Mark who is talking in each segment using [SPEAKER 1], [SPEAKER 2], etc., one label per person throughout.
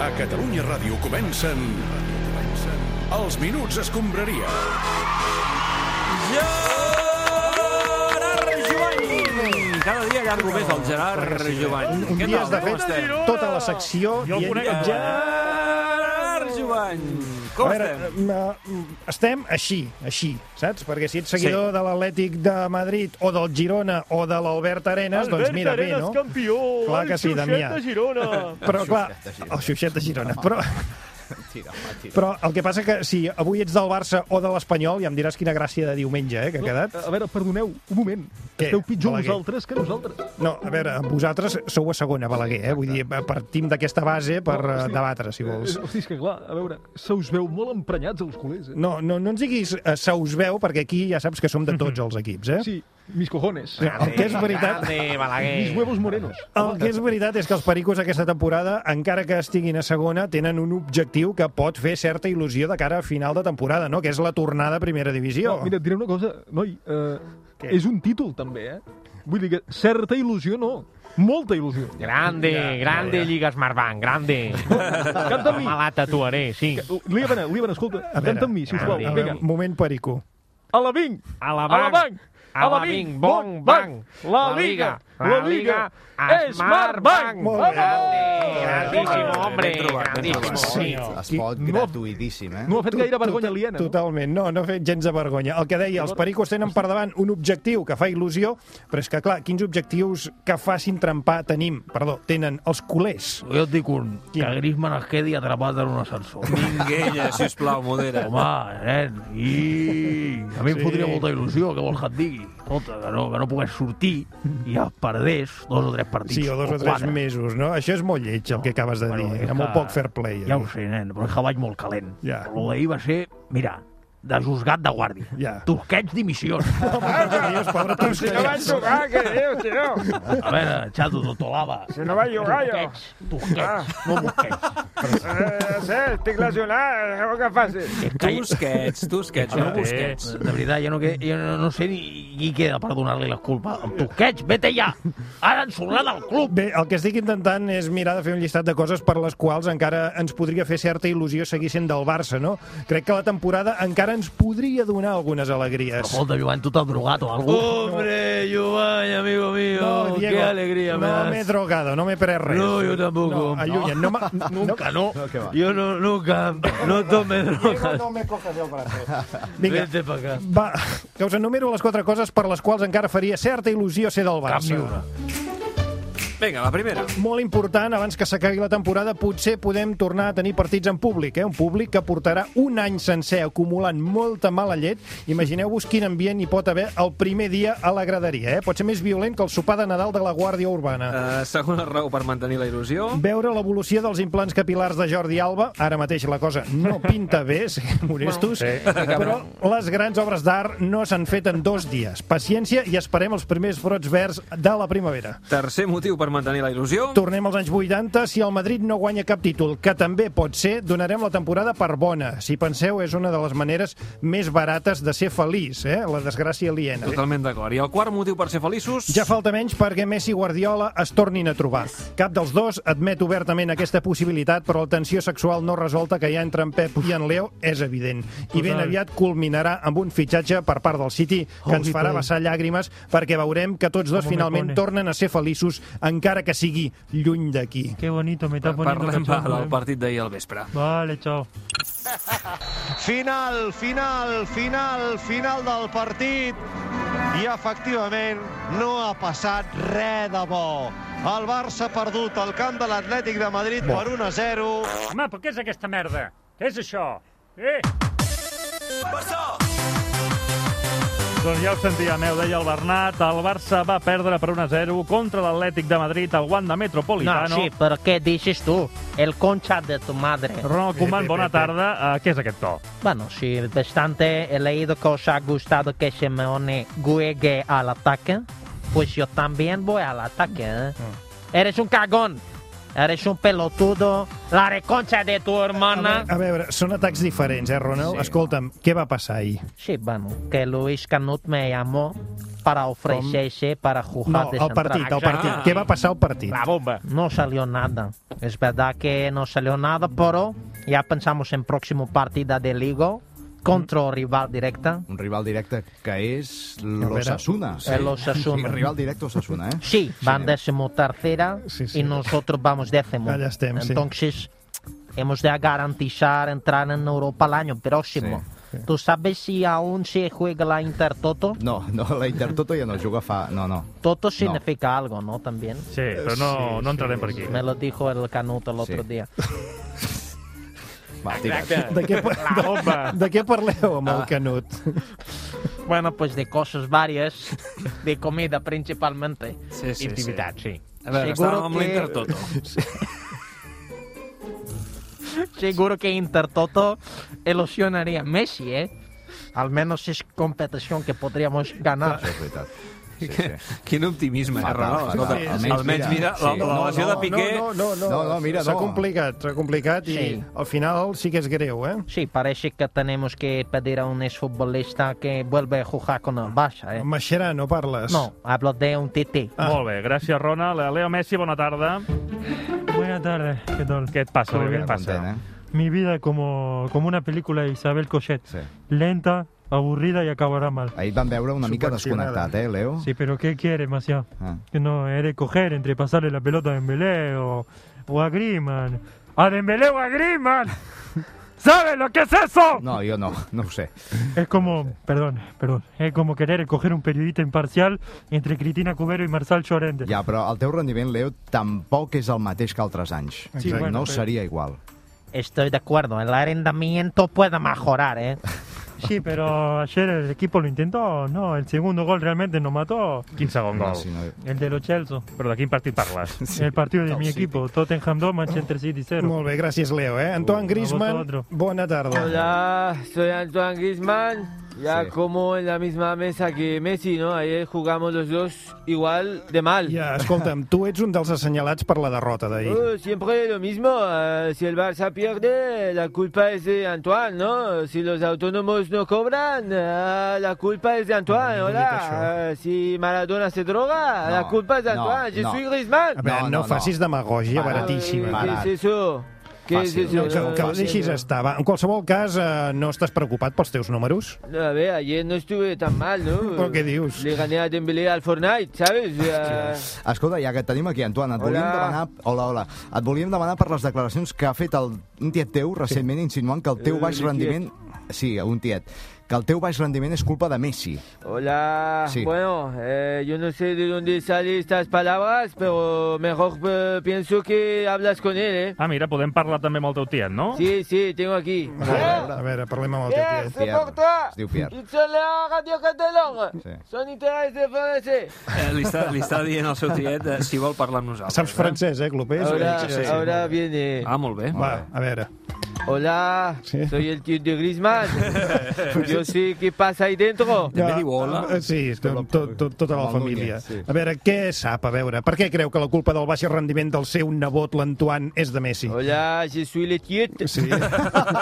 [SPEAKER 1] A Catalunya Ràdio comencen... comencen Els Minuts Escombraria.
[SPEAKER 2] Gerard Jovany! Cada dia llargo més el Gerard Jovany.
[SPEAKER 3] Un dia has de fer tota la secció
[SPEAKER 4] Jo el
[SPEAKER 3] dient
[SPEAKER 4] conec.
[SPEAKER 2] Gerard Jovany! Com
[SPEAKER 3] a veure,
[SPEAKER 2] estem?
[SPEAKER 3] estem? estem així, així, saps? Perquè si ets seguidor de l'Atlètic de Madrid o del Girona o de l'Albert Arenas, doncs mira bé,
[SPEAKER 4] Arenas,
[SPEAKER 3] no?
[SPEAKER 4] campió,
[SPEAKER 3] Clar
[SPEAKER 4] el
[SPEAKER 3] que sí,
[SPEAKER 4] xuxet
[SPEAKER 3] Damià.
[SPEAKER 4] de Girona.
[SPEAKER 3] Però clar, el xuxet de Girona. Però, però el que passa que si avui ets del Barça o de l'Espanyol, ja em diràs quina gràcia de diumenge eh, que ha quedat.
[SPEAKER 5] A veure, perdoneu, un moment.
[SPEAKER 3] Què,
[SPEAKER 5] Esteu pitjor
[SPEAKER 3] Balaguer?
[SPEAKER 5] vosaltres que nosaltres.
[SPEAKER 3] No, a veure, vosaltres sou a segona, Balaguer, eh? Vull dir, partim d'aquesta base per eh,
[SPEAKER 5] Hosti.
[SPEAKER 3] debatre, si vols.
[SPEAKER 5] Eh, Hosti, és que clar, a veure, se us veu molt emprenyats els culers, eh?
[SPEAKER 3] No, no, no ens diguis eh, se us veu, perquè aquí ja saps que som de tots els equips, eh?
[SPEAKER 5] Sí, mis cojones.
[SPEAKER 3] El que és veritat...
[SPEAKER 5] Mis huevos morenos.
[SPEAKER 3] El que és veritat és que els pericos aquesta temporada, encara que estiguin a segona, tenen un objectiu que pot fer certa il·lusió de cara a final de temporada, no? que és la tornada a primera divisió.
[SPEAKER 5] No, mira, et diré una cosa, noi, eh, és un títol també, eh? Vull dir que certa il·lusió no, molta il·lusió.
[SPEAKER 6] Grande, grande Lliga Smartbank, grande.
[SPEAKER 5] Canta amb mi.
[SPEAKER 6] Me la tatuaré, sí.
[SPEAKER 5] Líban, Líban, escolta, canta amb mi, sisplau.
[SPEAKER 3] a
[SPEAKER 5] Vinga,
[SPEAKER 3] veure, moment perico.
[SPEAKER 5] a la vinc,
[SPEAKER 6] A la
[SPEAKER 5] a la
[SPEAKER 6] banc,
[SPEAKER 5] banc,
[SPEAKER 6] a la Bing, bong, bang.
[SPEAKER 5] La Liga, la Liga, és Smart Bank.
[SPEAKER 3] Molt bé.
[SPEAKER 6] Grande, grandísimo, hombre, grandísimo.
[SPEAKER 3] Sí.
[SPEAKER 7] Espot
[SPEAKER 5] no-
[SPEAKER 7] gratuïtíssim, eh?
[SPEAKER 5] No ha fet gaire vergonya
[SPEAKER 3] Tot-
[SPEAKER 5] aliena, no?
[SPEAKER 3] Totalment, no, no ha fet gens de vergonya. El que deia, els pericos tenen per davant un objectiu que fa il·lusió, però és que, clar, quins objectius que facin trempar tenim, perdó, tenen els culers.
[SPEAKER 8] Jo et dic un, que Griezmann es quedi atrapat en un ascensor.
[SPEAKER 2] Minguella, sisplau, modera.
[SPEAKER 8] Home, nen, i... A mi em
[SPEAKER 3] Sí.
[SPEAKER 8] fotria molta il·lusió, què vols que et digui? Escolta, que no, que no pogués sortir i es perdés dos o tres partits.
[SPEAKER 3] Sí, o dos o tres
[SPEAKER 8] quatre.
[SPEAKER 3] mesos, no? Això és molt lleig, el que acabes de dir.
[SPEAKER 8] és
[SPEAKER 3] Era molt
[SPEAKER 8] que-
[SPEAKER 3] poc fair play.
[SPEAKER 8] Ja
[SPEAKER 3] eh?
[SPEAKER 8] ho sé, nen, però és que vaig molt calent.
[SPEAKER 3] Ja.
[SPEAKER 8] Però lo d'ahir va ser, mira, de juzgat de guàrdia.
[SPEAKER 3] Ja.
[SPEAKER 8] Tosquets dimissions.
[SPEAKER 3] Mare de Dios, pobre Tosquets.
[SPEAKER 8] A veure, xato, Totolava. Si no va jugar, jo.
[SPEAKER 9] Ah.
[SPEAKER 8] Tosquets, no Busquets. Eh, sé, estic lesionat, què que faci?
[SPEAKER 2] Tusquets, tusquets, no busquets.
[SPEAKER 8] De veritat, jo no, que, jo no, no sé ni qui queda per donar-li la culpa. Amb Busquets, vete ja! Ara ens sorrà del club!
[SPEAKER 3] Bé, el que estic intentant és mirar de fer un llistat de coses per les quals encara ens podria fer certa il·lusió seguir sent del Barça, no? Crec que la temporada encara ens podria donar algunes alegries.
[SPEAKER 8] Escolta, Joan, tu t'has drogat o alguna cosa?
[SPEAKER 4] Hombre, Giovanni, amigo mío, qué alegría me
[SPEAKER 3] no
[SPEAKER 4] das.
[SPEAKER 3] m'he drogado, no m'he pres res.
[SPEAKER 4] No, yo
[SPEAKER 3] No,
[SPEAKER 4] tampoco.
[SPEAKER 3] allunya, no, m'ha- no,
[SPEAKER 8] Nunca, no.
[SPEAKER 7] No, què va?
[SPEAKER 4] Yo no, nunca, no tome drogas.
[SPEAKER 3] me cojas el brazo. Vinga,
[SPEAKER 4] Vete para acá.
[SPEAKER 3] va, que us enumero les quatre coses per les quals encara faria certa il·lusió ser del
[SPEAKER 8] Cap
[SPEAKER 3] Barça.
[SPEAKER 8] ni una.
[SPEAKER 2] Vinga, la primera.
[SPEAKER 3] molt important, abans que s'acabi la temporada, potser podem tornar a tenir partits en públic, eh? un públic que portarà un any sencer acumulant molta mala llet. Imagineu-vos quin ambient hi pot haver el primer dia a la graderia. Eh? Pot ser més violent que el sopar de Nadal de la Guàrdia Urbana.
[SPEAKER 2] Uh, segona raó per mantenir la il·lusió.
[SPEAKER 3] Veure l'evolució dels implants capilars de Jordi Alba, ara mateix la cosa no pinta bé, siguem honestos, però les grans obres d'art no s'han fet en dos dies. Paciència i esperem els primers brots verds de la primavera.
[SPEAKER 2] Tercer motiu per mantenir la il·lusió.
[SPEAKER 3] Tornem als anys 80. Si el Madrid no guanya cap títol, que també pot ser, donarem la temporada per bona. Si penseu, és una de les maneres més barates de ser feliç, eh? la desgràcia aliena.
[SPEAKER 2] Totalment d'acord. I el quart motiu per ser feliços...
[SPEAKER 3] Ja falta menys perquè Messi i Guardiola es tornin a trobar. Cap dels dos admet obertament aquesta possibilitat, però la tensió sexual no resolta que hi ha entre en Pep i en Leo és evident. I ben aviat culminarà amb un fitxatge per part del City que ens farà vessar llàgrimes perquè veurem que tots dos finalment tornen a ser feliços encara que sigui lluny d'aquí.
[SPEAKER 10] Qué bonito, me estás poniendo
[SPEAKER 2] Parlem va,
[SPEAKER 10] cachondo,
[SPEAKER 2] del
[SPEAKER 10] eh.
[SPEAKER 2] partit d'ahir al vespre.
[SPEAKER 10] Vale, chao.
[SPEAKER 11] Final, final, final, final del partit. I efectivament no ha passat res de bo. El Barça ha perdut el camp de l'Atlètic de Madrid per 1 a 0.
[SPEAKER 10] Home, però què és aquesta merda? Què és això? Eh?
[SPEAKER 4] Doncs ja ho sentia, meu, deia el Bernat. El Barça va perdre per 1-0 contra l'Atlètic de Madrid al Wanda
[SPEAKER 6] No,
[SPEAKER 4] Metropolitano.
[SPEAKER 6] sí, però què dices tu? El concha de tu madre.
[SPEAKER 4] Ronald Koeman, bona tarda. Uh, què és aquest to?
[SPEAKER 6] Bueno, sí, bastante he leído que os ha gustado que Simeone juegue al ataque. Pues yo también voy al ataque. ¿eh? Eres un cagón. Eres un pelotudo. La reconcha de tu hermana.
[SPEAKER 3] A veure, són atacs diferents, eh, Ronald? Sí. Escolta'm, què va passar ahir?
[SPEAKER 6] Sí, bueno, que Luis Canut me llamó para ofrecerse para jugar
[SPEAKER 3] No,
[SPEAKER 6] de
[SPEAKER 3] el
[SPEAKER 6] central.
[SPEAKER 3] partit, el partit. Què va passar al partit?
[SPEAKER 12] La bomba.
[SPEAKER 6] No salió nada. Es verdad que no salió nada, pero ya pensamos en próximo partida de Ligo contra el rival directa.
[SPEAKER 7] Un rival directe que és
[SPEAKER 3] veure.
[SPEAKER 7] l'Osasuna.
[SPEAKER 6] El Osasuna.
[SPEAKER 7] Sí, rival directe Osasuna, eh?
[SPEAKER 6] Sí, van decimotercera
[SPEAKER 3] Sí, sí.
[SPEAKER 6] y nosotros vamos décimo.
[SPEAKER 3] Allá estemos, sí.
[SPEAKER 6] Entonces, hemos de garantizar entrar en Europa el año próximo. ¿Tú sabes si aún se juega la Intertoto?
[SPEAKER 7] No, no, la Intertoto ja no juga fa... No, no.
[SPEAKER 6] Toto significa algo, ¿no? También.
[SPEAKER 4] Sí, però no, no entrarem per aquí.
[SPEAKER 6] Me lo dijo el Canuto el otro
[SPEAKER 7] Sí.
[SPEAKER 6] día.
[SPEAKER 7] Va, digues.
[SPEAKER 3] De què, pa- de, de què parleu amb el Canut?
[SPEAKER 6] Bueno, pues de cosas varias, de comida principalmente.
[SPEAKER 2] Sí, sí,
[SPEAKER 12] Intimitat, sí.
[SPEAKER 2] sí. A veure,
[SPEAKER 6] Seguro
[SPEAKER 2] estàvem amb
[SPEAKER 6] que-
[SPEAKER 2] l'Intertoto.
[SPEAKER 6] Seguro que Intertoto ilusionaría a Messi, ¿eh? Al menos es competición que podríamos ganar.
[SPEAKER 7] És veritat. Sí, sí.
[SPEAKER 2] Quin optimisme, eh,
[SPEAKER 7] Fatal,
[SPEAKER 2] Ronald?
[SPEAKER 7] fatal.
[SPEAKER 2] Escolta,
[SPEAKER 7] Almenys
[SPEAKER 2] almenys mira,
[SPEAKER 7] mira,
[SPEAKER 2] la,
[SPEAKER 7] sí.
[SPEAKER 2] la lesió de Piqué...
[SPEAKER 3] No, no, no,
[SPEAKER 7] No, no, mira,
[SPEAKER 3] S'ha
[SPEAKER 7] no.
[SPEAKER 3] complicat, s'ha complicat i
[SPEAKER 6] Sí.
[SPEAKER 3] al final sí que és greu, eh?
[SPEAKER 6] Sí, parece que tenemos que pedir a un exfutbolista que vuelva a jugar con el Barça, ¿eh?
[SPEAKER 3] Amb Xerà no parles?
[SPEAKER 6] No, hablo de un TT.
[SPEAKER 4] Ah. Molt bé, gràcies, Ronald. Eh, Leo Messi, bona tarda.
[SPEAKER 13] Buenas tardes, ¿qué tal?
[SPEAKER 4] Què et passa?
[SPEAKER 13] Molt
[SPEAKER 4] Què
[SPEAKER 13] bé.
[SPEAKER 4] et passa?
[SPEAKER 7] Content, eh?
[SPEAKER 13] Mi vida como, como una película de Isabel Cochet.
[SPEAKER 7] Sí.
[SPEAKER 13] Lenta, aburrida y acabará mal.
[SPEAKER 7] Ahir et van veure una mica
[SPEAKER 3] Subvencionada.
[SPEAKER 7] desconnectat, eh, Leo?
[SPEAKER 13] Sí, pero ¿qué quiere, Maciá?
[SPEAKER 7] Ah.
[SPEAKER 13] Que no, he de coger entre pasarle la pelota a Dembélé o, o a Griezmann. ¡A Dembélé o a Griezmann! ¿Sabes lo que es eso?
[SPEAKER 7] No, jo no, no ho sé.
[SPEAKER 13] Es como, perdón, perdón, es como querer coger un periodista imparcial entre Cristina Cubero y Marçal Llorente.
[SPEAKER 7] Ja, però el teu rendiment, Leo, tampoc és el mateix que altres anys.
[SPEAKER 13] Sí, bueno,
[SPEAKER 7] no
[SPEAKER 13] però-
[SPEAKER 7] seria igual.
[SPEAKER 6] Estoy de acuerdo, el arrendamiento puede mejorar, ¿eh?
[SPEAKER 13] Sí, pero ayer el equipo lo intentó, no, el segundo gol realmente nos mató.
[SPEAKER 4] Quin segon
[SPEAKER 7] No,
[SPEAKER 4] gol?
[SPEAKER 7] si no...
[SPEAKER 13] El de los Chelsea.
[SPEAKER 3] eh?
[SPEAKER 4] Però de quin partit parles?
[SPEAKER 13] el partido de mi equipo, Tottenham 2, Manchester City 0.
[SPEAKER 3] Molt bé, gràcies, Leo, eh? Antoine Griezmann,
[SPEAKER 13] vosaltres.
[SPEAKER 3] bona tarda.
[SPEAKER 9] Hola, soy Antoine Grisman. Ya
[SPEAKER 7] Sí.
[SPEAKER 9] como en la misma mesa que Messi, ¿no? Ayer jugamos los dos igual de mal.
[SPEAKER 3] Ja, escolta'm, tu ets un dels assenyalats per la derrota d'ahir.
[SPEAKER 9] Oh, siempre lo mismo. eh, si el Barça pierde, la culpa es de Antoine, ¿no? Si los autónomos no cobran, eh, la culpa es de Antoine,
[SPEAKER 3] No me digas
[SPEAKER 9] hola. Eh, si Maradona se droga,
[SPEAKER 7] No,
[SPEAKER 9] la culpa es de
[SPEAKER 7] no,
[SPEAKER 9] Antoine. Yo
[SPEAKER 7] no.
[SPEAKER 9] soy Griezmann.
[SPEAKER 3] A veure,
[SPEAKER 7] No,
[SPEAKER 3] no,
[SPEAKER 7] no, no.
[SPEAKER 3] facis demagògia
[SPEAKER 7] Para.
[SPEAKER 3] baratíssima.
[SPEAKER 7] Para.
[SPEAKER 9] ¿Qué es eso? ¿Qué
[SPEAKER 7] Fácil.
[SPEAKER 9] es
[SPEAKER 3] No,
[SPEAKER 9] eso?
[SPEAKER 3] que, que ho deixis estar. Va. En qualsevol cas, eh, no estàs preocupat pels teus números?
[SPEAKER 9] No, a ver, ayer no estuve tan mal, ¿no?
[SPEAKER 3] ¿Pero qué dios?
[SPEAKER 9] Le gané a Dembélé al Fortnite, ¿sabes? Ya-
[SPEAKER 7] Escolta, ja que et tenim aquí, Antoine, et
[SPEAKER 9] Eh, Hola.
[SPEAKER 7] volíem demanar... Hola, hola. Et volíem demanar per les declaracions que ha fet el, un tiet teu recentment insinuant que el teu
[SPEAKER 9] Eh,
[SPEAKER 7] baix
[SPEAKER 9] un
[SPEAKER 7] rendiment... Sí, un tiet. Que el teu baix rendiment és culpa de Messi.
[SPEAKER 9] Hola.
[SPEAKER 7] Sí.
[SPEAKER 9] Bueno, eh, yo no sé de dónde salen estas palabras, pero mejor eh, pienso que hablas con él, ¿eh?
[SPEAKER 4] Ah, mira, podem parlar també amb el teu tiet, no?
[SPEAKER 9] Sí, sí, tengo aquí.
[SPEAKER 3] A
[SPEAKER 9] ¿Eh?
[SPEAKER 3] veure, a veure parlem amb el teu
[SPEAKER 9] Pierre,
[SPEAKER 3] tiet.
[SPEAKER 9] c'est
[SPEAKER 7] Pierre.
[SPEAKER 9] pour toi.
[SPEAKER 7] Es diu Pierre.
[SPEAKER 9] It's a la radio catalane.
[SPEAKER 7] Sí.
[SPEAKER 9] Son interés de français.
[SPEAKER 2] Eh, Li està, li està dient al seu tiet eh, si vol parlar amb nosaltres.
[SPEAKER 3] Saps francès, eh, Clopés?
[SPEAKER 9] Ahora,
[SPEAKER 2] sí, sí.
[SPEAKER 9] ahora viene.
[SPEAKER 2] Eh? Ah, molt bé.
[SPEAKER 3] Va, a veure.
[SPEAKER 9] Hola,
[SPEAKER 3] Sí.
[SPEAKER 9] soy el tío de Griezmann. yo sé qué pasa ahí dentro.
[SPEAKER 2] També diu hola.
[SPEAKER 3] eh, Sí, tot, tot, tot, tota la
[SPEAKER 7] Amb el
[SPEAKER 3] família.
[SPEAKER 7] Núñez, sí.
[SPEAKER 3] A veure, què sap? A veure, per què creu que la culpa del baix rendiment del seu nebot, l'Antoine, és de Messi?
[SPEAKER 9] Hola, je suis le tiet.
[SPEAKER 3] Sí.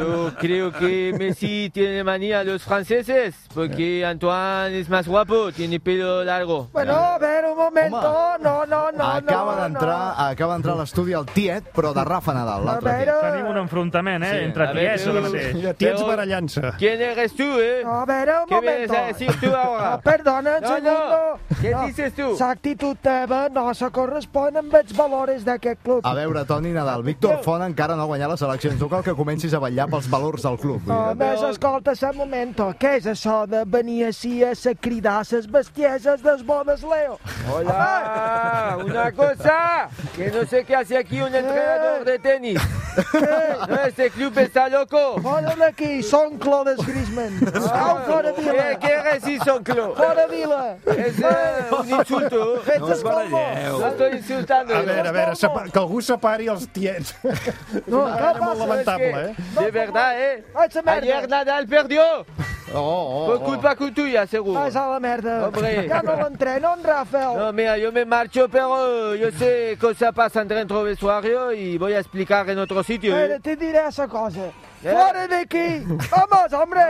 [SPEAKER 9] Yo creo que Messi tiene manía a los franceses, porque Antoine es más guapo, tiene pelo largo.
[SPEAKER 6] Bueno, a ver, un momento.
[SPEAKER 7] Home.
[SPEAKER 6] No, no, no,
[SPEAKER 7] acaba d'entrar acaba d'entrar a l'estudi el tiet, però de Rafa Nadal, l'altre tiet.
[SPEAKER 4] Tenim un enfrontament, eh?
[SPEAKER 7] Sí.
[SPEAKER 4] Entre
[SPEAKER 9] A veure,
[SPEAKER 4] tiets, ara mateix.
[SPEAKER 3] Ja tiets
[SPEAKER 9] Però-
[SPEAKER 3] barallant-se.
[SPEAKER 9] ¿Quién eres tú, eh?
[SPEAKER 6] A ver, un
[SPEAKER 9] ¿Qué vienes a decir tú ahora?
[SPEAKER 6] perdona,
[SPEAKER 9] No, no. ¿Qué dices tú?
[SPEAKER 6] L'actitud teva no se correspon amb els valores d'aquest club.
[SPEAKER 7] A veure, Toni Nadal, Víctor Font encara no ha guanyat les eleccions. No cal que comencis a vetllar pels valors del club.
[SPEAKER 6] A més, escolta, sa momento, què és això de venir així a sa cridar ses bestieses des bodes, Leo?
[SPEAKER 9] Hola, una cosa, que no sé qué hace aquí un entrenador de tenis. No, este club está loco. Ah,
[SPEAKER 6] Fora d'aquí, són Clodes Griezmann.
[SPEAKER 8] Ah,
[SPEAKER 6] Escau fora vila,
[SPEAKER 9] ¿Qué, qué eres, Isonclo?
[SPEAKER 6] fora vila.
[SPEAKER 9] Es eh, un insulto.
[SPEAKER 2] No us baralleu.
[SPEAKER 9] No estoy insultando.
[SPEAKER 3] A veure, a veure, sepa- que algú separi els tiets. No,
[SPEAKER 9] Ah,
[SPEAKER 3] molt
[SPEAKER 9] ¿sabes
[SPEAKER 3] lamentable,
[SPEAKER 9] qué?
[SPEAKER 3] eh?
[SPEAKER 9] De verdad, ¿eh?
[SPEAKER 6] Haig sa merda.
[SPEAKER 9] Ayer Nadal perdió.
[SPEAKER 14] Oh, Por culpa que tuya, seguro.
[SPEAKER 8] Vas a la merda.
[SPEAKER 14] Hombre.
[SPEAKER 8] Ja no l'entreno, en Rafael.
[SPEAKER 14] No, mira, yo me marcho, pero yo sé cosa pasa dentro del vestuario y voy a explicar en otro sitio. ¿eh?
[SPEAKER 8] Mira, te diré esa cosa. Fora d'aquí! Vamos, hombre!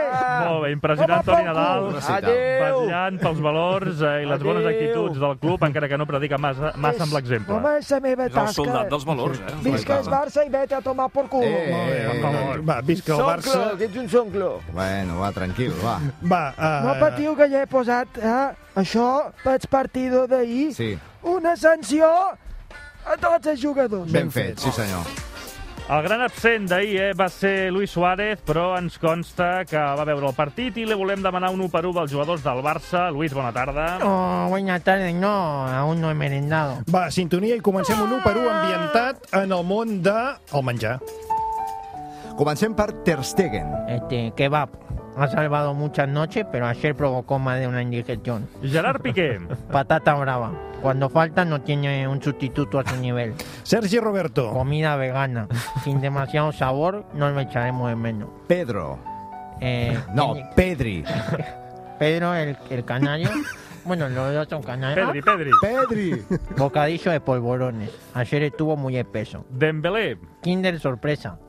[SPEAKER 4] Molt bé, impressionant,
[SPEAKER 8] Home,
[SPEAKER 4] Toni Nadal.
[SPEAKER 8] Adéu.
[SPEAKER 4] Batllant pels valors eh, i les bones
[SPEAKER 8] Adéu.
[SPEAKER 4] actituds del club, encara que no predica massa, massa amb l'exemple.
[SPEAKER 8] Home, és la meva
[SPEAKER 4] És el
[SPEAKER 8] tasca.
[SPEAKER 4] soldat dels valors, eh?
[SPEAKER 8] Visca el Barça i vete a tomar por culo.
[SPEAKER 7] Eh,
[SPEAKER 3] Va, visca el Barça.
[SPEAKER 14] que ets un sonclo.
[SPEAKER 7] Bueno, va, tranquil, va.
[SPEAKER 3] Va, eh,
[SPEAKER 8] No patiu que ja he posat, eh? Això, pels partido d'ahir,
[SPEAKER 7] Sí.
[SPEAKER 8] una sanció a tots els jugadors.
[SPEAKER 7] Ben fet, sí senyor.
[SPEAKER 4] El gran absent d'ahir eh, va ser Luis Suárez, però ens consta que va veure el partit i li volem demanar un 1 per 1 dels jugadors del Barça. Luis, bona tarda.
[SPEAKER 6] Oh, buena tarde, no, aún no he merendado.
[SPEAKER 3] Va, sintonia i comencem un 1 per 1 ambientat en el món de el menjar.
[SPEAKER 7] Comencem per Ter Stegen.
[SPEAKER 6] Este, kebab. Ha salvado muchas noches, pero ayer provocó más de una indigestión.
[SPEAKER 4] Gerard Piqué.
[SPEAKER 6] Patata brava. Cuando falta no tiene un sustituto a su nivel.
[SPEAKER 3] Sergi Roberto.
[SPEAKER 6] Comida vegana. Sin demasiado sabor, no lo echaremos de menos.
[SPEAKER 7] Pedro.
[SPEAKER 6] Eh,
[SPEAKER 7] No, Pedri.
[SPEAKER 6] Pedro, el, el canario. Bueno, los dos son canarios.
[SPEAKER 4] Pedri, Pedri.
[SPEAKER 7] Pedri.
[SPEAKER 6] Bocadillo de polvorones. Ayer estuvo muy espeso.
[SPEAKER 4] Dembélé.
[SPEAKER 6] Kinder sorpresa.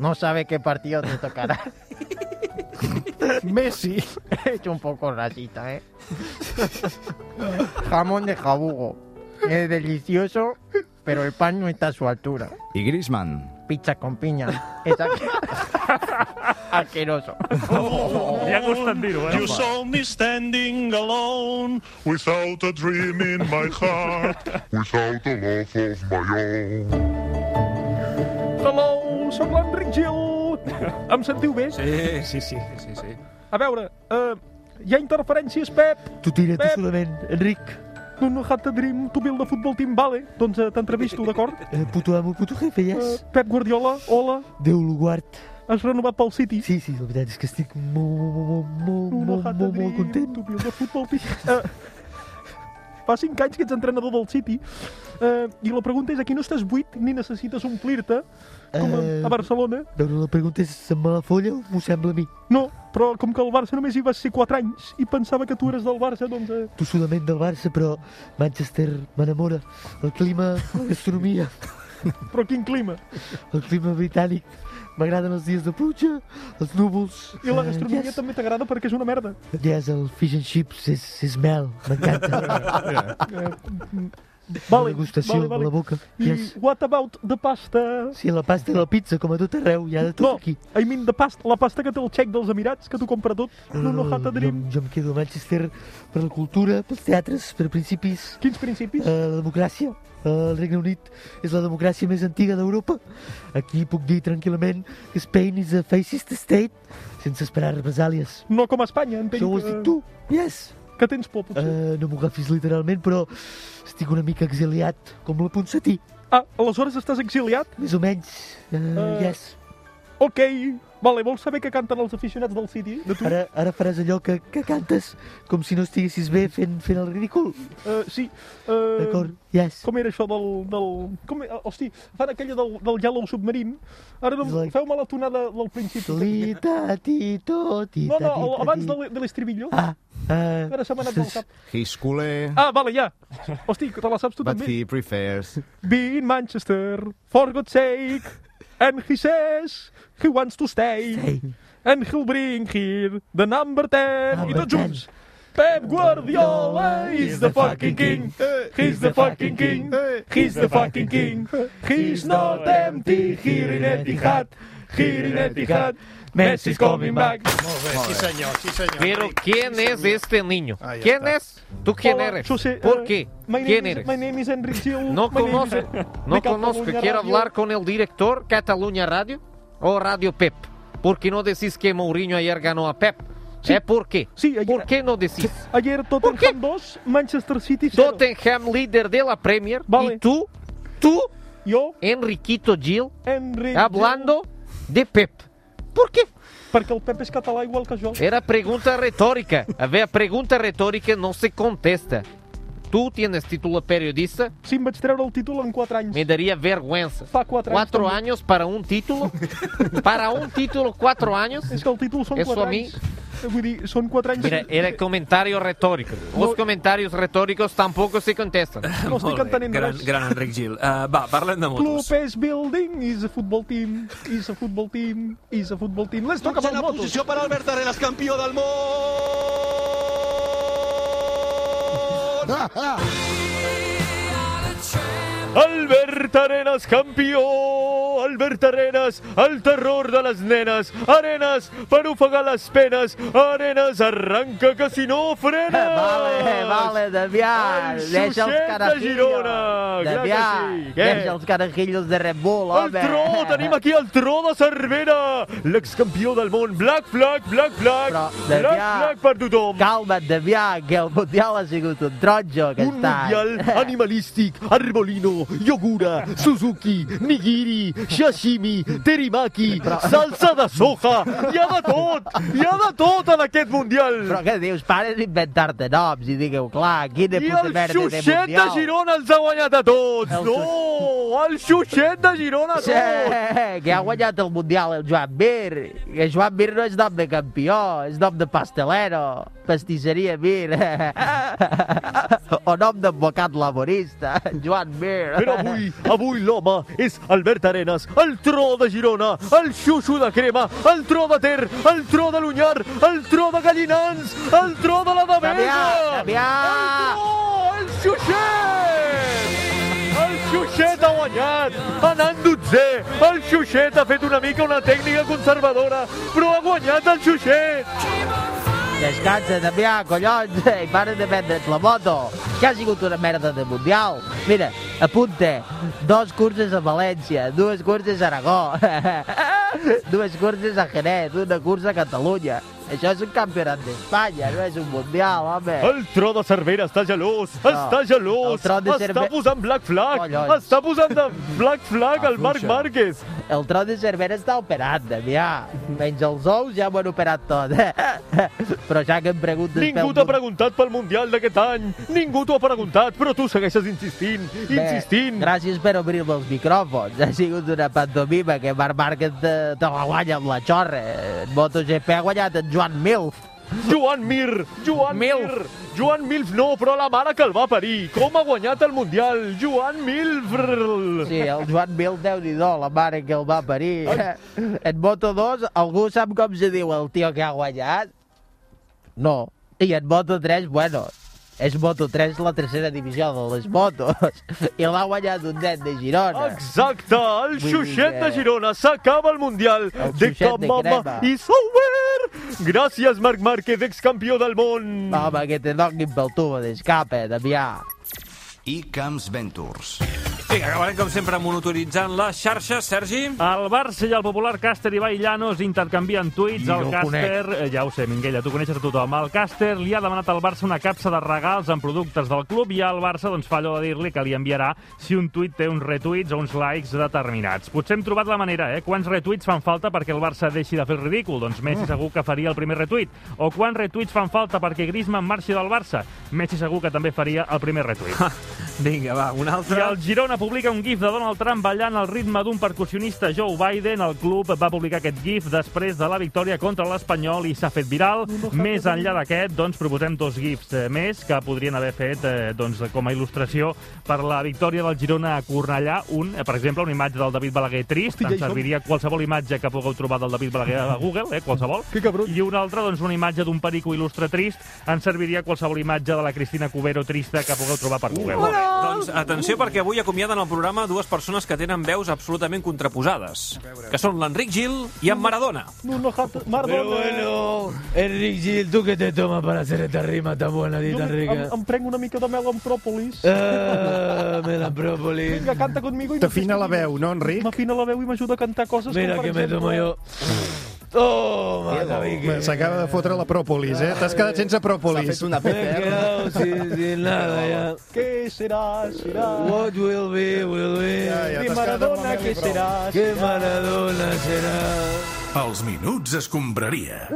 [SPEAKER 6] No sabe qué partido te tocará.
[SPEAKER 3] Messi.
[SPEAKER 6] Es un poco racista, ¿eh? Jamón de jabugo. Es delicioso, pero el pan no está a su altura.
[SPEAKER 7] I Griezmann.
[SPEAKER 6] Pizza con piña. Es asque- asqueroso.
[SPEAKER 5] Oh.
[SPEAKER 4] Li ha gustat dir-ho, eh?
[SPEAKER 15] You saw me standing alone without a dream in my heart, without a love of my own.
[SPEAKER 5] Hello, sóc l'Enric Gil. Em sentiu bé?
[SPEAKER 2] Sí, sí, sí. sí, sí.
[SPEAKER 5] A veure, uh, hi ha interferències, Pep.
[SPEAKER 8] Tu tira
[SPEAKER 5] Pep.
[SPEAKER 8] totalment, Enric.
[SPEAKER 5] No, no, have the dream, tu build the football team, vale? Doncs uh, t'entrevisto, d'acord?
[SPEAKER 8] Eh, puto amo, puto jefe, ja
[SPEAKER 5] Uh,
[SPEAKER 8] és.
[SPEAKER 5] Pep Guardiola, hola.
[SPEAKER 8] Déu lo guard.
[SPEAKER 5] Has renovat pel City.
[SPEAKER 8] Sí, sí, la veritat és que estic molt, molt, molt,
[SPEAKER 5] No, no,
[SPEAKER 8] molt,
[SPEAKER 5] have the
[SPEAKER 8] molt, molt
[SPEAKER 5] dream,
[SPEAKER 8] content.
[SPEAKER 5] tu build the football team. Uh, fa 5 anys que ets entrenador del City uh, i la pregunta és aquí no estàs buit ni necessites omplir-te com a,
[SPEAKER 8] Eh,
[SPEAKER 5] a Barcelona
[SPEAKER 8] Veure, la pregunta és, se'm va la folla? M'ho sembla a mi.
[SPEAKER 5] no, però com que el Barça només hi vas ser 4 anys i pensava que tu eres del Barça doncs eh,
[SPEAKER 8] Tossudament del Barça, però Manchester m'enamora. El clima, la gastronomia,
[SPEAKER 5] però quin clima
[SPEAKER 8] el clima britànic. M'agraden els dies de pluja, els núvols...
[SPEAKER 5] I la
[SPEAKER 8] eh,
[SPEAKER 5] gastronomia
[SPEAKER 8] yes.
[SPEAKER 5] també t'agrada perquè és una merda.
[SPEAKER 8] Yes, el fish and chips és, és mel, m'encanta.
[SPEAKER 5] Eh, mm, Vale,
[SPEAKER 8] degustació
[SPEAKER 5] vale, vale.
[SPEAKER 8] a la boca.
[SPEAKER 5] I
[SPEAKER 8] Yes.
[SPEAKER 5] what about the pasta?
[SPEAKER 8] Sí, la pasta i la pizza, com a tot arreu, hi ha de tot
[SPEAKER 5] No,
[SPEAKER 8] aquí.
[SPEAKER 5] I mean the pasta, la pasta que té el xec dels Emirats, que t'ho compra tot. No, no, hat a
[SPEAKER 8] jo,
[SPEAKER 5] dream.
[SPEAKER 8] Eh, jo em quedo a Manchester per la cultura, pels teatres, per principis.
[SPEAKER 5] Quins principis?
[SPEAKER 8] Eh, la democràcia. Eh, el Regne Unit és la democràcia més antiga d'Europa. Aquí puc dir tranquil·lament que Spain is a fascist state, sense esperar represàlies.
[SPEAKER 5] No com a Espanya, entenc.
[SPEAKER 8] Això ho has dit tu? Yes.
[SPEAKER 5] Que tens por, potser.
[SPEAKER 8] Eh, no m'ho agafis literalment, però estic una mica exiliat, com la Ponsatí.
[SPEAKER 5] Ah, aleshores estàs exiliat?
[SPEAKER 8] Més o menys, eh,
[SPEAKER 5] Eh,
[SPEAKER 8] yes.
[SPEAKER 5] Ok, vale, vols saber què canten els aficionats del City? De tu?
[SPEAKER 8] Ara, ara faràs allò que, que cantes com si no estiguessis bé fent, fent el ridícul.
[SPEAKER 5] Eh, sí. eh,
[SPEAKER 8] D'acord, yes.
[SPEAKER 5] Com era això del... del com, eh, hosti, fan aquella del, del Yellow Submarine. Ara no,
[SPEAKER 8] Like-
[SPEAKER 5] feu-me la tonada del principi.
[SPEAKER 8] Solita, tito,
[SPEAKER 5] No,
[SPEAKER 8] tita,
[SPEAKER 5] no, el-
[SPEAKER 8] tita,
[SPEAKER 5] abans
[SPEAKER 8] tita.
[SPEAKER 5] de l'e- de l'estribillo.
[SPEAKER 8] Ah, eh,
[SPEAKER 5] Ara se m'ha anat del cap.
[SPEAKER 7] Hiscule.
[SPEAKER 5] Ah, vale, ja. Hosti, te la saps tu
[SPEAKER 7] But
[SPEAKER 5] també.
[SPEAKER 7] he prefers.
[SPEAKER 5] Be in Manchester, for God's sake. And he says he wants to stay. And he'll bring here the number 10. I tots junts. Pep Guardiola is the fucking king. He's the fucking king. He's the fucking king. He's not empty here in Etihad. Here in Etihad. Messi's coming back.
[SPEAKER 3] Sí senyor, sí senyor.
[SPEAKER 14] Pero ¿quién es este niño?
[SPEAKER 3] Ahí
[SPEAKER 14] ¿Quién
[SPEAKER 3] está.
[SPEAKER 14] es? ¿Tú quién
[SPEAKER 5] Hola,
[SPEAKER 14] eres?
[SPEAKER 5] Oh, yo sé,
[SPEAKER 14] ¿Por
[SPEAKER 5] eh,
[SPEAKER 14] qué?
[SPEAKER 5] My name
[SPEAKER 14] ¿Quién
[SPEAKER 5] is-
[SPEAKER 14] eres?
[SPEAKER 5] My name is Enric Gil.
[SPEAKER 14] No
[SPEAKER 5] My name is-
[SPEAKER 14] conoce,
[SPEAKER 5] de
[SPEAKER 14] no
[SPEAKER 5] Catalunya
[SPEAKER 14] conozco. Quiero
[SPEAKER 5] Radio.
[SPEAKER 14] hablar con el director Cataluña Radio o Radio Pep. ¿Por qué no decís que Mourinho ayer ganó a Pep? ¿Eh? ¿Por qué? ¿Por qué no decís?
[SPEAKER 5] Ayer Tottenham 2, Manchester City 0.
[SPEAKER 14] Tottenham líder de la Premier
[SPEAKER 5] Vale.
[SPEAKER 14] y tú, tú,
[SPEAKER 5] yo,
[SPEAKER 14] Enriquito Gil,
[SPEAKER 5] Enric
[SPEAKER 14] hablando de Pep. ¿Por qué?
[SPEAKER 5] Perquè el Pep és català igual que jo.
[SPEAKER 14] Era pregunta retórica. A ver, a pregunta retórica no se contesta.
[SPEAKER 12] ¿Tú tienes título periodista?
[SPEAKER 5] Sí, em vaig treure el títol en 4 anys.
[SPEAKER 12] Me daría vergüenza.
[SPEAKER 5] Fa 4 anys.
[SPEAKER 12] ¿Cuatro
[SPEAKER 5] també.
[SPEAKER 12] años para un título? ¿Para un título cuatro años?
[SPEAKER 5] És que el títol són
[SPEAKER 12] Eso
[SPEAKER 5] 4
[SPEAKER 12] a mí...
[SPEAKER 5] anys. Vull dir, són 4 anys.
[SPEAKER 12] Mira, era comentario retórico. Los comentarios retóricos tampoco se contestan.
[SPEAKER 5] No estic entenent
[SPEAKER 2] gran,
[SPEAKER 5] res.
[SPEAKER 2] gran Enric Gil. Uh, va, parlem de motos.
[SPEAKER 5] Club is building, is a football team, is a football team, is a football team. Let's talk about motos.
[SPEAKER 16] Doncs posició per Albert Arenas, campió del món!
[SPEAKER 8] Ah.
[SPEAKER 14] Albert Arenas, campió! Albert Arenas, el terror de les nenes. Arenas, per ofegar les penes. Arenas, arranca que si no frenes!
[SPEAKER 17] Vale, vale, Damià,
[SPEAKER 14] El
[SPEAKER 17] deixa els
[SPEAKER 14] Xuxet de
[SPEAKER 17] carajillos.
[SPEAKER 14] Girona, clar
[SPEAKER 17] Damià,
[SPEAKER 14] que sí. Què?
[SPEAKER 17] deixa els carajillos de Red Bull, home.
[SPEAKER 14] El tro, tenim aquí el tro de Cervera, l'excampió del món. Black flag, black flag, Però, black
[SPEAKER 17] Damià,
[SPEAKER 14] flag per tothom.
[SPEAKER 17] Calma't, Damià, que el Mundial ha sigut un tronjo aquest
[SPEAKER 14] Un mundial animalístic, arbolino, yogura, suzuki, nigiri, sashimi, terimaki, salsa de soja, hi ha de tot, hi ha de tot en aquest mundial.
[SPEAKER 17] Però què dius? Pares d'inventar-te noms i digueu, clar, quina
[SPEAKER 14] I
[SPEAKER 17] puta
[SPEAKER 14] el
[SPEAKER 17] merda de
[SPEAKER 14] Xuxet de
[SPEAKER 17] Mundial.
[SPEAKER 14] Girona ens ha guanyat a tots.
[SPEAKER 17] El
[SPEAKER 14] No, el Xuxet de Girona a
[SPEAKER 17] Sí,
[SPEAKER 14] tots.
[SPEAKER 17] que ha guanyat el Mundial el Joan Mir. Que Joan Mir no és nom de campió, és nom de pastelero, pastisseria Mir.
[SPEAKER 14] Eh.
[SPEAKER 17] o nom d'advocat laborista, Joan Mir.
[SPEAKER 14] Però avui, avui l'home és Albert Arenas, el tro de Girona, el xuxo de crema, el tro de Ter, el tro de l'Unyar, el tro de Gallinans, el tro de la Devesa!
[SPEAKER 17] Damià, Damià!
[SPEAKER 14] El tro, el xuxet! El xuxet ha guanyat, anant dotzè, el xuxet ha fet una mica una tècnica conservadora, però ha guanyat el xuxet!
[SPEAKER 17] Descansa, Damià, collons, i para de vendre't la moto, que ha sigut una merda de mundial. Mira, apunta, dos curses a València, dues curses a Aragó, dues curses a Jerez, una cursa a Catalunya. Això és un campionat d'Espanya, no és un mundial, home.
[SPEAKER 14] El tro de Cervera està gelós,
[SPEAKER 17] Eh. No,
[SPEAKER 14] està gelós,
[SPEAKER 17] el tro de
[SPEAKER 14] està
[SPEAKER 17] Cerve-
[SPEAKER 14] posant Black Flag,
[SPEAKER 17] Collons.
[SPEAKER 14] està posant de Black Flag al Marc
[SPEAKER 17] Afluixa.
[SPEAKER 14] Márquez.
[SPEAKER 17] El tron de Cervera està operat, Damià. Menys els ous ja m'han operat tot. Però ja que em preguntes...
[SPEAKER 14] Ningú
[SPEAKER 17] pel
[SPEAKER 14] t'ha preguntat pel Mundial d'aquest any, ningú t'ho ha preguntat, però tu segueixes insistint, insistint.
[SPEAKER 17] Bé, gràcies per obrir-me els micròfons. Ha sigut una pantomima que Marc Márquez te, te la guanya amb la xorra. En MotoGP ha guanyat en Joan Milf.
[SPEAKER 14] Joan Mir, Joan Milf. Joan Milf no, però la mare que el va parir. Com ha guanyat el Mundial, Joan Milf.
[SPEAKER 17] Sí, el Joan Milf, déu nhi la mare que el va parir. En Moto2, algú sap com se diu el tio que ha guanyat? No. I en Moto3, bueno, és Moto3 la tercera divisió de les motos. I l'ha guanyat un nen de Girona.
[SPEAKER 14] Exacte, el
[SPEAKER 17] Vull dir
[SPEAKER 14] Xuxet
[SPEAKER 17] que-
[SPEAKER 14] de Girona s'acaba el Mundial. de
[SPEAKER 17] Xuxet
[SPEAKER 14] cap
[SPEAKER 17] de
[SPEAKER 14] mama
[SPEAKER 17] crema.
[SPEAKER 14] i Sauer. Gràcies, Marc Márquez, excampió del món.
[SPEAKER 17] Home, que te donin pel tubo d'escape, Damià.
[SPEAKER 7] I Camps Ventures.
[SPEAKER 2] Sí, acabarem com sempre monitoritzant les xarxes, Sergi.
[SPEAKER 4] El Barça i el popular Càster Ibai Llanos intercanvien tuits.
[SPEAKER 2] I
[SPEAKER 4] El
[SPEAKER 2] jo ho
[SPEAKER 4] Càster, eh, ja ho sé, Minguella, tu coneixes a tothom. El Càster li ha demanat al Barça una capsa de regals amb productes del club i el Barça doncs, fa allò de dir-li que li enviarà si un tuit té uns retuits o uns likes determinats. Potser hem trobat la manera, eh? Quants retuits fan falta perquè el Barça deixi de fer el ridícul? Doncs Messi segur que faria el primer retuit. O quants retuits fan falta perquè Griezmann marxi del Barça? Messi segur que també faria el primer retuit.
[SPEAKER 2] Vinga, va, un
[SPEAKER 4] I
[SPEAKER 2] altre.
[SPEAKER 4] el Girona publica un gif de Donald Trump ballant al ritme d'un percussionista Joe Biden. El club va publicar aquest gif després de la victòria contra l'Espanyol i s'ha fet viral. Més enllà d'aquest, doncs, proposem dos gifs eh, més que podrien haver fet eh, doncs, com a il·lustració per la victòria del Girona a Cornellà. Un, eh, per exemple, una imatge del David Balaguer trist.
[SPEAKER 5] Hosti, ja hi
[SPEAKER 4] Ens
[SPEAKER 5] som.
[SPEAKER 4] serviria qualsevol imatge que pugueu trobar del David Balaguer a Google, eh, qualsevol.
[SPEAKER 5] Que cabrut.
[SPEAKER 4] I una altra, doncs, una imatge d'un perico il·lustre trist. Ens serviria qualsevol imatge de la Cristina Cubero trista que pugueu trobar per Google.
[SPEAKER 2] Molt bé, doncs atenció perquè avui acomiaden al programa dues persones que tenen veus absolutament contraposades, que són l'Enric Gil i en Maradona.
[SPEAKER 5] No, no, Jato- Maradona.
[SPEAKER 14] Pero bueno, Enric Gil, ¿tú qué te tomas para hacer esta rima tan buena y tan
[SPEAKER 5] Em,
[SPEAKER 14] rica?
[SPEAKER 5] em prenc una mica de mel amb pròpolis.
[SPEAKER 14] Ah, me la própolis.
[SPEAKER 5] Vinga, canta conmigo. i
[SPEAKER 3] T'afina la
[SPEAKER 5] m'ajuda-
[SPEAKER 3] veu, no, Enric?
[SPEAKER 5] M'afina la veu i m'ajuda a cantar coses.
[SPEAKER 14] Mira
[SPEAKER 5] com, per
[SPEAKER 14] que me
[SPEAKER 5] exemple,
[SPEAKER 14] tomo yo.
[SPEAKER 9] Oh,
[SPEAKER 14] Toma,
[SPEAKER 3] Home,
[SPEAKER 14] cabique.
[SPEAKER 3] S'acaba de fotre la pròpolis, eh? T'has quedat sense pròpolis.
[SPEAKER 14] Me he quedado sin, sin nada ya.
[SPEAKER 5] Què serà, serà?
[SPEAKER 14] What will be, will be.
[SPEAKER 5] Di Maradona, què serà,
[SPEAKER 14] ¿Qué Maradona será?
[SPEAKER 18] Els minuts escombraria.